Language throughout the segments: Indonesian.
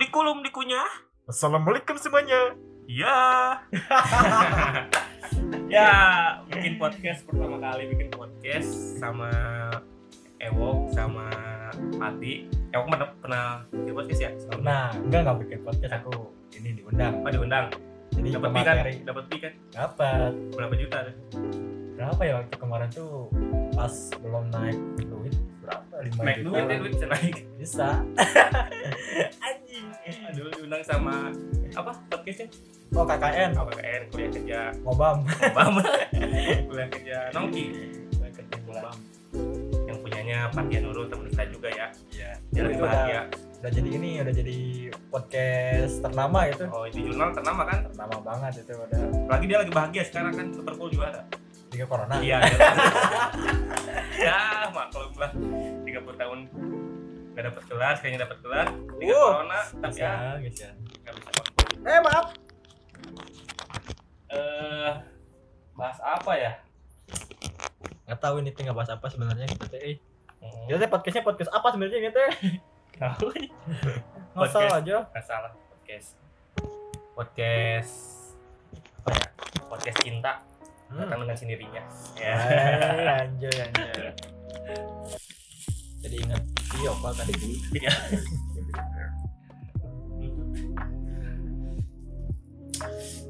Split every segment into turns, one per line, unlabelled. Dikulum dikunyah.
Assalamualaikum semuanya.
Ya. ya, bikin podcast pertama kali bikin podcast sama Ewok sama Pati. Ewok pernah pernah bikin podcast ya? Sebelumnya.
Nah, enggak enggak bikin podcast aku ini diundang.
Apa diundang?
Jadi
Dapat pi kan?
pemateri
Dapat pi kan?
dapat
Berapa juta? tuh?
berapa ya waktu kemarin tuh pas belum naik duit berapa lima
Naik
juta
duit,
lah.
ya, duit bisa naik.
bisa. Anjing.
Aduh, diundang sama apa podcastnya?
Oh KKN,
KKN, kuliah kerja
ngobam.
Bam, kuliah kerja Nongki, kuliah kerja Bam. Yang punyanya Pati Nurul teman kita juga ya.
Iya.
Jalan
Itu
bahagia.
Udah jadi ini, udah jadi podcast ternama itu.
Oh, di jurnal ternama kan?
Ternama banget itu udah
Lagi dia lagi bahagia sekarang kan Liverpool juara.
tiga corona.
Iya. ya, maklum lah. 30 tahun nggak dapat gelar, kayaknya dapat gelar. Tiga
Uh,
corona, tapi ya
Bisa, gitu bisa.
nggak bisa.
Eh maaf.
Eh, bahas apa ya?
Nggak tahu ini tinggal bahas apa sebenarnya kita teh. eh.
Hmm,
Kita teh podcastnya podcast apa sebenarnya gitu?
tahu nih.
Ngasal
Podcast.
aja.
Nggak salah podcast. Podcast apa ya? Podcast cinta
Hmm.
datang dengan sendirinya. Ya.
Eh, anjay anjay. Jadi ingat video apa tadi dulu.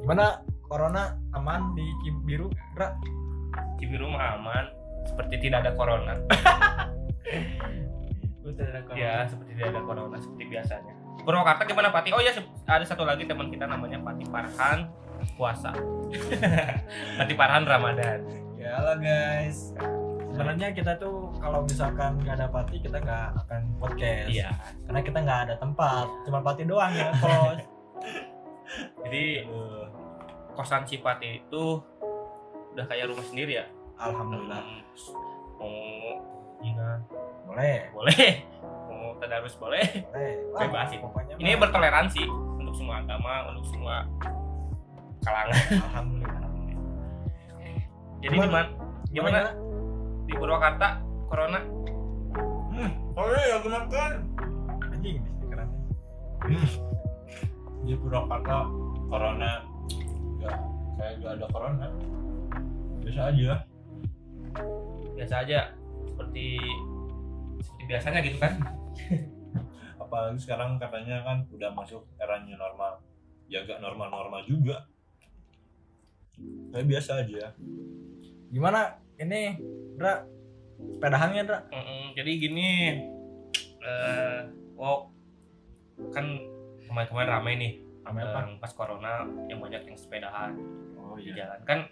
Gimana corona aman di Cibiru? Ra?
Cibiru mah aman, seperti tidak ada corona.
Iya.
Ya, seperti tidak ada corona seperti biasanya. Purwakarta gimana Pati? Oh ya, ada satu lagi teman kita namanya Pati Parhan puasa. Pati Parhan Ramadan.
Ya halo guys. Sebenarnya kita tuh kalau misalkan nggak ada pati kita nggak akan podcast.
Iya.
Karena kita nggak ada tempat, cuma pati doang ya kos.
Jadi eh, kosan si Pati itu udah kayak rumah sendiri ya. Hmm,
Alhamdulillah.
Mau zina
Boleh,
boleh, mau tadarus boleh.
boleh.
Bebas sih.
pokoknya
Ini
mah,
bertoleransi untuk semua agama, untuk semua kalangan.
alhamdulillah.
Jadi
Cuman-
gimana? Gimana di Purwakarta corona?
Hmm,
Oke, aku makan.
anjing di stikerannya.
Di Purwakarta corona enggak kayak enggak ada corona. Biasa aja.
biasa aja seperti seperti biasanya gitu kan
Apalagi sekarang katanya kan udah masuk era new normal. Ya agak normal-normal juga. Kayak biasa aja.
Gimana ini, Ra? Sepedahannya, Ra?
Mm-mm, jadi gini eh wow kan kemarin-kemarin ramai nih
Sama apa?
yang pas corona yang banyak yang sepedahan
Oh
di jalan kan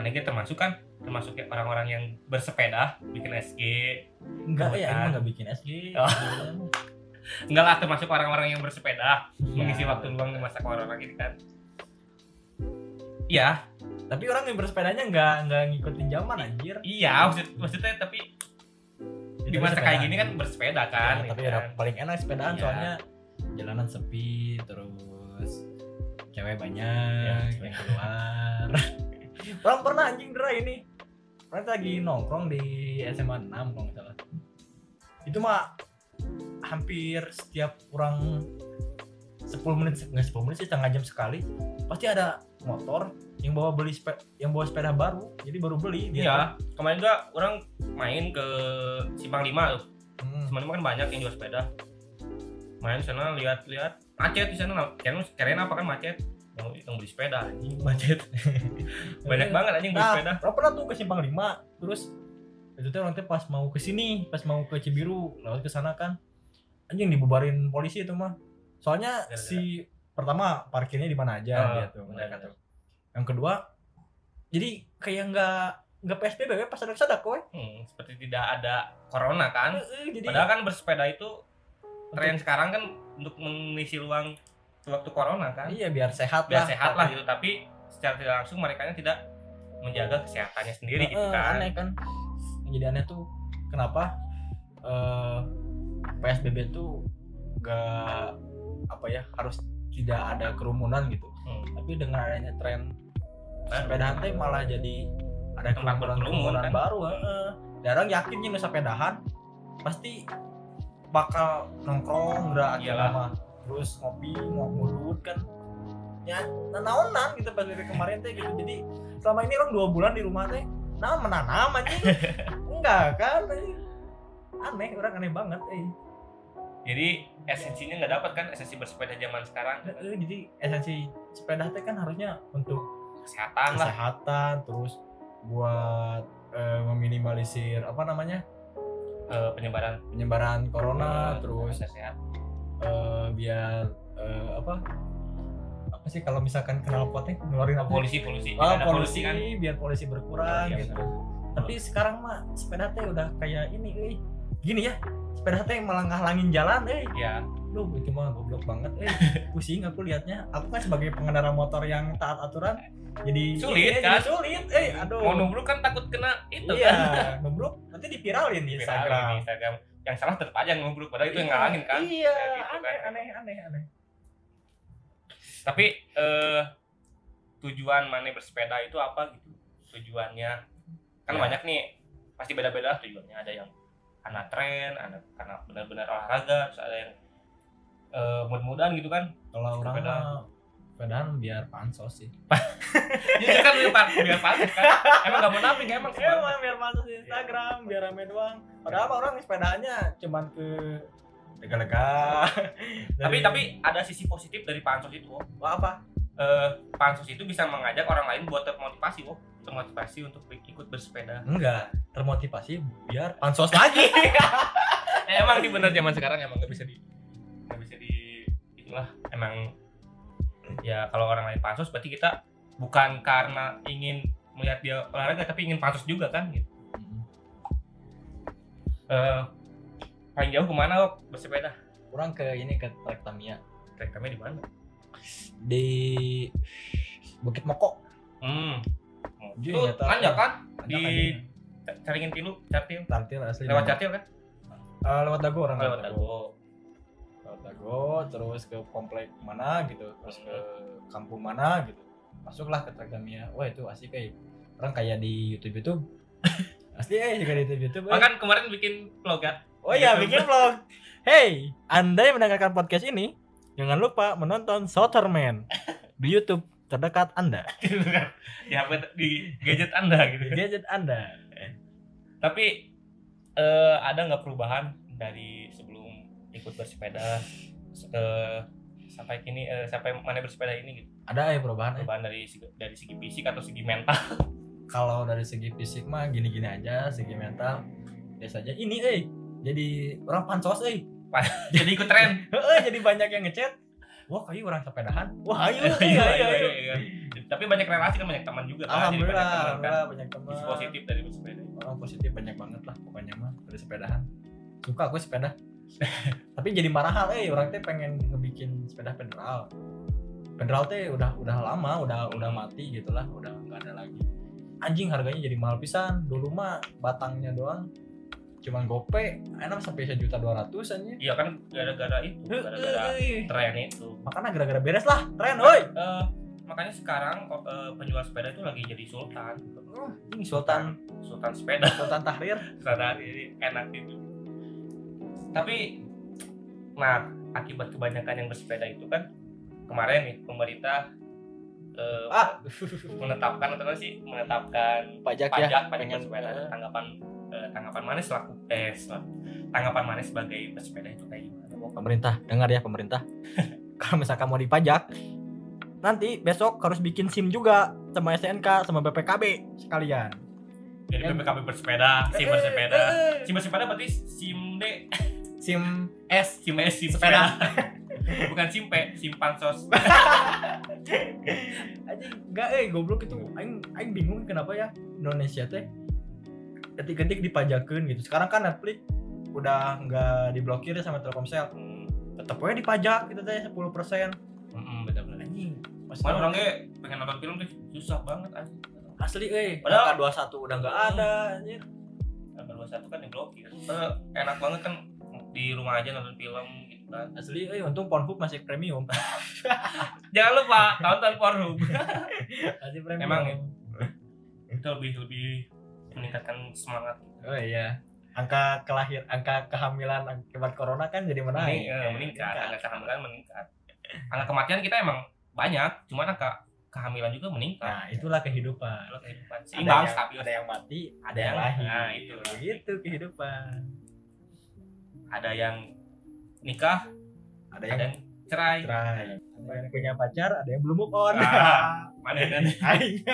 Manege termasuk kan termasuk ya orang-orang yang bersepeda bikin SG
Enggak ya, ini
Kebetulan.
enggak bikin SG.
kan? Oh. enggak lah termasuk orang-orang yang bersepeda mengisi
Ya,
waktu luang di masa corona gitu kan iya
Tapi orang yang bersepedanya enggak enggak ngikutin zaman anjir.
iya maksud, maksudnya tapi di masa kayak gini kan bersepeda kan
Ya, tapi
gitu
udah
kan.
paling enak sepedaan
Iya.
soalnya jalanan sepi terus cewek banyak
Iya,
yang keluar orang pernah anjing dera ini pernah lagi nongkrong di SMA 6 kalau nggak salah itu mah hampir setiap orang 10 menit nggak 10 menit sih setengah jam sekali pasti ada motor yang bawa beli sepe- yang bawa sepeda baru jadi baru beli dia
Iya, kemarin juga orang main ke Simpang 5 tuh.
Hmm.
Simpang 5 kan banyak yang jual sepeda. Main di sana lihat-lihat macet di sana. Keren, keren apa kan macet? Yang, yang beli sepeda anjing macet. banyak banget anjing beli
Nah,
sepeda.
orang pernah tuh ke simpang 5 terus itu tuh orang tuh pas mau ke sini, pas mau ke Cibiru, lewat ke sana kan. Anjing dibubarin polisi itu mah. Soalnya
Gara-gara.
si pertama parkirnya di mana aja
Oh,
dia tuh mereka
benar-benar.
tuh. Yang kedua jadi kayak nggak nggak PSBB we, pas ada sadar kowe.
Hmm, seperti tidak ada corona kan.
Heeh, jadi
Padahal kan bersepeda itu tren sekarang kan untuk mengisi luang waktu corona kan.
iya biar sehat
Biar
lah.
sehat lah gitu, tapi secara tidak langsung mereka tidak menjaga kesehatannya sendiri gitu
Heeh,
kan.
Aneh kan. jadi aneh tuh kenapa eh, PSBB tuh gak apa ya harus tidak ada kerumunan gitu
Hmm.
tapi dengan adanya tren
Baru.
sepedahan teh malah jadi ada
Tempat
kerumunan
berkerumun,
kerumunan
kan?
baru heeh. jarang yakin nih sepedahan pasti bakal nongkrong gerak akhir
Iyalah.
lama terus ngopi ngomudut kan ya nanaonan gitu pas dari kemarin teh gitu jadi selama ini orang dua bulan di rumah teh nah menanam aja enggak kan aneh orang aneh banget eh
Jadi esensinya nggak dapat kan esensi bersepeda zaman sekarang
Eh, jadi esensi sepeda teh kan harusnya untuk
kesehatan lah.
kesehatan terus buat eh, meminimalisir apa namanya
eh, penyebaran
penyebaran corona
eh,
Nah, terus
bisa sehat.
eh, biar eh, apa apa sih kalau misalkan kenal potnya ngeluarin apa
Polusi polusi.
Ah,
Ada
polusi,
kan.
biar polusi berkurang
Iya,
gitu
betul.
tapi sekarang mah sepeda teh udah kayak ini eh. gini ya sepeda teh malah ngalangin jalan eh
Iya.
lu itu mah goblok banget eh pusing aku liatnya aku kan sebagai pengendara motor yang taat aturan jadi
Sulit,
iya,
kan?
jadi sulit eh aduh
Mau nubruk kan takut kena itu
iya,
kan.
nubruk nanti dipiralin di
Instagram.
Instagram.
Instagram. Yang salah tetap aja nubruk padahal itu yang ngalangin kan.
Iya,
Kayak gitu
aneh,
kan.
aneh, aneh, aneh.
Tapi eh tujuan mana bersepeda itu apa gitu? Tujuannya kan
Ya.
banyak nih pasti beda-beda lah tujuannya. Ada yang anak tren, ada karena benar-benar olahraga, terus ada yang eh mudah-mudahan gitu kan.
Kalau orang
Sepedaan.
mah sepedaan biar pansos sih.
Itu kan biar pa- biar pansos kan. Emang gak mau namping emang sebenarnya.
Emang Iya, biar pansos di
Iya.
Instagram, biar rame doang. Padahal mah orang sepedaannya cuman ke lega-lega.
Tapi
Dari-
tapi ada sisi positif dari pansos itu. Wo.
Wah, apa?
Eh, pansos itu bisa mengajak orang lain buat termotivasi, wo. termotivasi untuk ikut bersepeda.
Enggak, termotivasi biar pansos lagi.
Eh, emang sih bener zaman sekarang emang nggak bisa di nggak bisa di itulah emang ya kalau orang lain pansos berarti kita bukan karena ingin melihat dia olahraga tapi ingin pansos juga kan gitu. Eh, paling jauh kemana wo, bersepeda?
orang ke ini ke Trek Tamiya
Trek kami di mana?
di Bukit Moko.
Hmm.
Jadi
Itu
nggak tahu.
tanjak kan di
Di
caringin tilu, cartil.
Tantil asli.
Lewat cartil kan?
Eh, lewat dago orang
Lewat dago.
lewat dago terus ke komplek mana gitu terus ke kampung mana gitu masuklah ke Tragamia wah itu asik kayak orang kayak di YouTube YouTube asli eh juga di YouTube YouTube
Oh, kan kemarin bikin vlog kan?
oh iya bikin vlog hey anda yang mendengarkan podcast ini jangan lupa menonton Soterman di YouTube terdekat anda
di HP Ya, di gadget Anda gitu.
di gadget anda
Tapi eh, ada nggak perubahan dari sebelum ikut bersepeda eh, sampai kini eh, sampai mana bersepeda ini gitu?
ada ya perubahan eh?
Perubahan dari segi- dari segi fisik atau segi mental?
kalau dari segi fisik mah gini-gini aja segi mental biasa aja ini eh jadi orang pansos eh
Jadi ikut tren.
Heeh, jadi banyak yang ngechat wah kayu orang sepedahan wah ayo
Iya,
ayo
iya,
ayo, ayo.
iya. Tapi banyak relasi kan banyak teman juga kan. Jadi banyak teman
alhamdulillah
kan.
alhamdulillah banyak teman
Sisi positif dari bersepeda.
orang positif banyak banget lah pokoknya mah dari sepedahan suka aku sepeda tapi jadi marah hal eh orang teh pengen ngebikin sepeda federal federal teh udah udah lama udah udah
Hmm.
mati gitulah udah nggak ada lagi anjing harganya jadi mahal pisan dulu mah batangnya doang cuman gope enak sampai sejuta dua ratus aja
Iya kan gara-gara itu, gara-gara tren itu.
makanya gara-gara beres lah tren woi
Eh, makanya sekarang kok, eh, penjual sepeda itu lagi jadi sultan. gitu.
Oh, ini sultan
Sultan sepeda.
sultan tahrir
sadar ini enak gitu tapi nah akibat kebanyakan yang bersepeda itu kan kemarin nih pemerintah eh,
ah
menetapkan atau apa sih menetapkan
pajak,
pajak
ya
pajak
pengen
bersepeda tanggapan eh, tanggapan manis selaku eh selaku- tanggapan manis sebagai bersepeda itu kayak gimana
pemerintah dengar ya pemerintah kalau misalkan mau dipajak nanti besok harus bikin SIM juga sama SNK sama BPKB sekalian
jadi
Em-
PPKB bersepeda sim bersepeda
Eh, eh,
sim bersepeda berarti sim D
SIM
S sim S sim sepeda
Sepeda.
bukan sim P sim pansos
aja enggak eh goblok itu aing aing bingung kenapa ya Indonesia teh ketik-ketik dipajakin gitu sekarang kan Netflix udah nggak diblokir ya sama Telkomsel
hmm,
tetep aja dipajak gitu teh 10%
hmm, benar-benar
anjing pasti
Kemarin orangnya pengen nonton film tuh susah banget anjing.
asli eh
Padahal-
padahal 21 udah nggak ada anjir
Apa satu kan diblokir. Eh, enak banget kan di rumah aja nonton film gitu kan.
Asli, eh untung Pornhub masih premium.
Jangan lupa tonton Pornhub.
Masih premium.
Emang ya? Itu lebih lebih meningkatkan semangat.
Oh iya. Angka kelahir, angka kehamilan akibat corona kan jadi menaik.
Ini eh, meningkat, angka kehamilan meningkat. Angka kematian kita emang banyak, cuman angka kehamilan juga meningkat.
Nah, itulah kehidupan.
Kalau kehidupan seimbang
ada
stabil.
yang, ada yang mati, ada
Nah,
yang lahir.
itu.
Begitu kehidupan.
Ada yang nikah,
Ada
ada
yang
yang cerai.
cerai. Ada yang punya pacar, ada yang belum move on.
Ah, Mana kan?
Aing.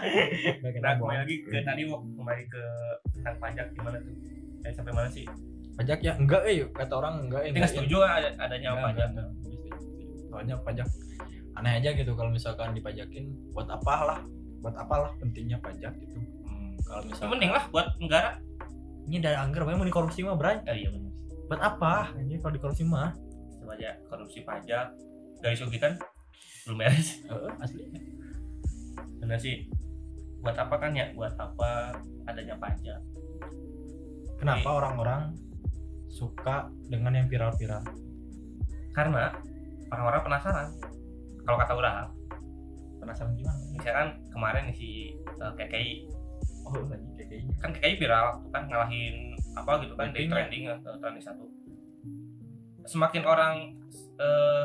Nah, kembali lagi ke tadi Wok.
Hmm.
kembali ke tentang pajak gimana tuh? Eh, sampai mana sih?
pajak ya enggak eh kata orang enggak eh
Kita nggak setuju ada, adanya
Enggak,
pajak.
enggak, enggak. soalnya pajak aneh aja gitu kalau misalkan dipajakin buat apalah buat apalah pentingnya pajak gitu kalau
Ya,
misalkan
mending lah buat negara.
ini dari anggar banyak mau dikorupsi mah bray
Eh, iya benar.
buat apa ini kalau dikorupsi mah
Coba aja korupsi pajak dari Sogitan kan? belum beres.
Heeh, asli
Benar sih. Buat apa kan ya? Buat apa adanya pajak?
kenapa orang-orang suka dengan yang viral-viral
Karena orang-orang penasaran. Kalau kata orang,
penasaran gimana
misalkan kemarin si eh, KKI
oh lagi kayak kayaknya
kan kayaknya viral tuh kan ngalahin apa gitu kan di
Trending
trending
ya.
eh, trending satu semakin orang eh,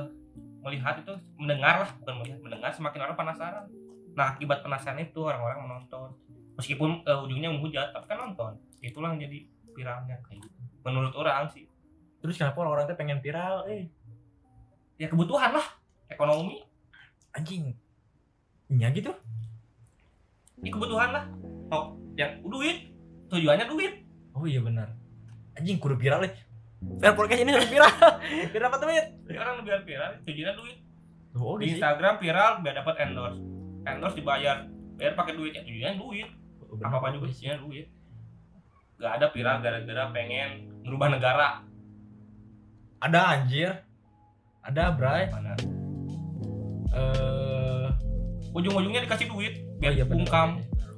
melihat itu mendengar lah bukan melihat mendengar semakin orang penasaran nah akibat penasaran itu orang-orang menonton meskipun eh, ujungnya menghujat tapi kan nonton itulah yang jadi viralnya kayak gitu menurut orang sih
terus kenapa orang-orang tuh pengen viral eh
ya kebutuhan lah ekonomi
anjing Iya gitu
ini kebutuhan lah oh yang duit tujuannya duit
oh iya benar anjing kudu viral eh Viral podcast ini harus viral biar dapat duit
Jadi orang lebih viral tujuannya duit
Oh,
di Instagram viral biar dapat endorse endorse dibayar bayar pakai duit ya tujuannya duit apa apa juga isinya duit gak ada viral gara-gara pengen merubah negara
Ada anjir. Ada, Bray.
mana
Eh,
ujung-ujungnya dikasih duit biar
oh iya, bener,
bungkam
bener,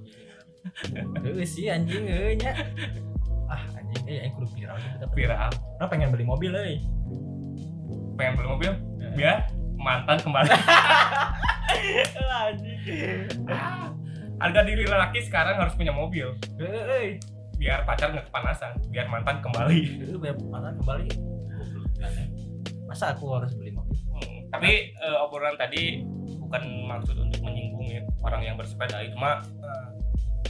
bener. Heeh sih anjing euy nya. Ah, anjing eh aku viral gitu tapi
viral
orang pengen beli mobil eh. euy.
pengen beli mobil
Iya.
biar mantan kembali Ah, harga diri lelaki sekarang harus punya mobil
Heeh eh. euy.
biar pacar nggak kepanasan biar mantan kembali
Heeh bayar mana kembali? Masa aku harus beli mobil?
Hmm, tapi eh, obrolan tadi bukan maksud untuk menyinggung ya orang yang bersepeda itu mah eh,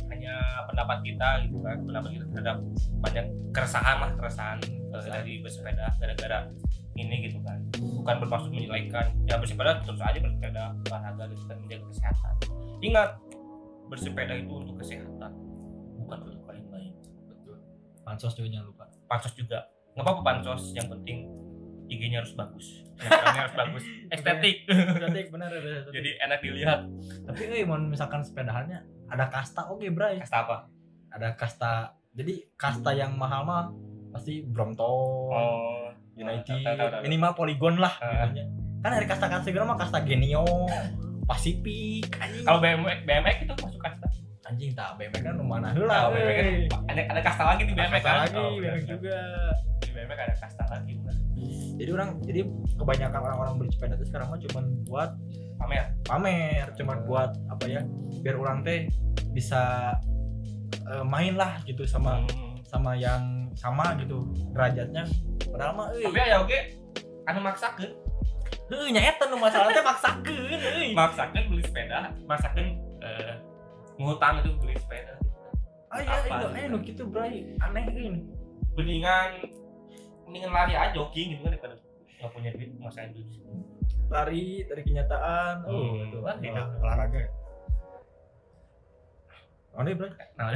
hanya pendapat kita gitu kan pendapat kita terhadap banyak keresahan lah keresahan eh, dari bersepeda gara-gara ini gitu kan bukan bermaksud menyelesaikan ya bersepeda terus aja bersepeda olahraga gitu kan menjaga kesehatan ingat bersepeda itu untuk kesehatan bukan untuk lain-lain
Betul. Pansos juga jangan lupa.
pansos juga nggak apa-apa pansos yang penting IG-nya harus bagus Instagramnya harus bagus estetik
Cantik bener ada.
jadi enak dilihat
tapi euy mau misalkan sepedahannya ada kasta oke, Bray.
kasta apa
Ada kasta. Jadi kasta yang mahal mah pasti Brompton.
oh
United
Tahu, tahu, tahu, tahu.
minimal poligon lah
Ah.
gitunya. kan dari kasta kasta segala mah kasta genio pasifik anjing
kalau BMX BMX itu masuk kasta
anjing tak BMX kan rumah nah
Tahu,
lah
BMX kan
weh.
ada ada kasta lagi di BMX
Kasta
kan
lagi iya.
Oh, benar,
BMX
benar.
juga
di BMX ada kasta lagi benar.
jadi orang jadi kebanyakan orang-orang beli sepeda itu sekarang mah cuman buat
pamer
pamer cuman
Ah.
buat apa ya biar orang teh bisa eh, main lah gitu sama
Hmm.
sama yang sama gitu derajatnya padahal mah eh,
tapi
euy
ya oke anu maksakan
heuh nya eta eh, nu masalahnya eh. maksakeun euy
maksakan beli sepeda maksakan eh, ngutang itu beli sepeda
ayo ayo
Apa?
ayo gitu bray aneh ini
mendingan mendingan lari aja jogging gitu kan daripada nggak punya duit masa duit
lari dari kenyataan oh
Hmm,
itu
wah,
olah- olahraga oh ini bro
Nah,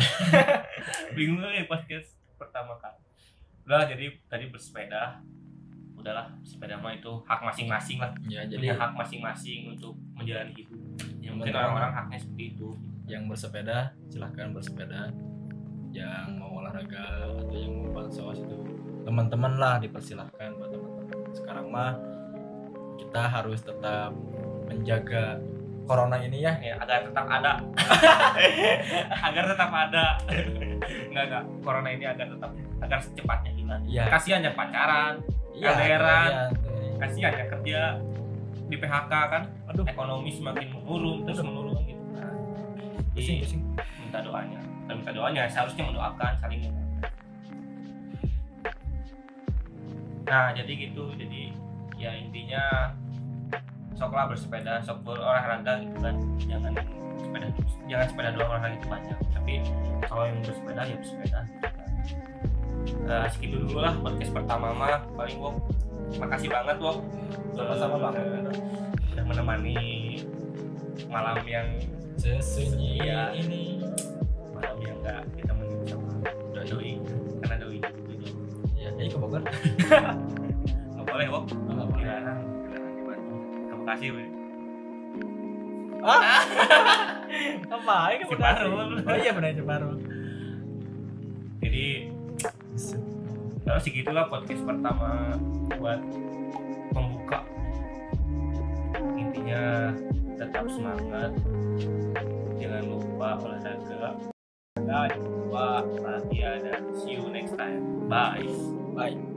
bingung kali ya podcast pertama kali. Udah jadi tadi bersepeda, udahlah sepeda mah itu hak masing-masing lah.
ya
Punya hak masing-masing untuk menjalani hidup. Ya mungkin
Benar.
orang-orang haknya seperti itu.
yang bersepeda silahkan bersepeda yang mau olahraga atau yang mau bansos itu teman-teman lah dipersilahkan buat teman-teman sekarang mah kita harus tetap menjaga corona ini ya
Ya, agar tetap ada. agar tetap ada. nggak ada corona ini agar tetap agar secepatnya hilang
Iya.
kasihan yang pacaran
Iya,
Kaleran.
iya, iya.
kasihan yang kerja di PHK kan
Aduh,
ekonomi semakin menurun terus menurun gitu Nah,
pusing,
jadi
pusing.
minta doanya dan minta doanya seharusnya mendoakan saling mendoakan. nah jadi gitu jadi ya intinya soklah bersepeda sok berolahraga gitu kan jangan sepeda jangan sepeda doang olahraga itu banyak tapi kalau yang bersepeda ya bersepeda nah, segitu dulu lah podcast pertama mah paling wok makasih banget wok Eh,
Sama-sama, Bang.
udah menemani malam yang
Sesunyi
Iya.
ini.
malam yang nggak kita menuju sama doi karena doi itu
Ya, jadi ke Bogor.
nggak boleh wok
Nggak boleh.
dilarang dilarang di Bandung terima kasih weh
Apa? Ini
Ciparu.
baru. Oh iya benar baru.
jadi terus segitulah podcast pertama buat pembuka intinya tetap semangat jangan lupa olahraga jangan lupa latihan dan see you next time bye
Bye.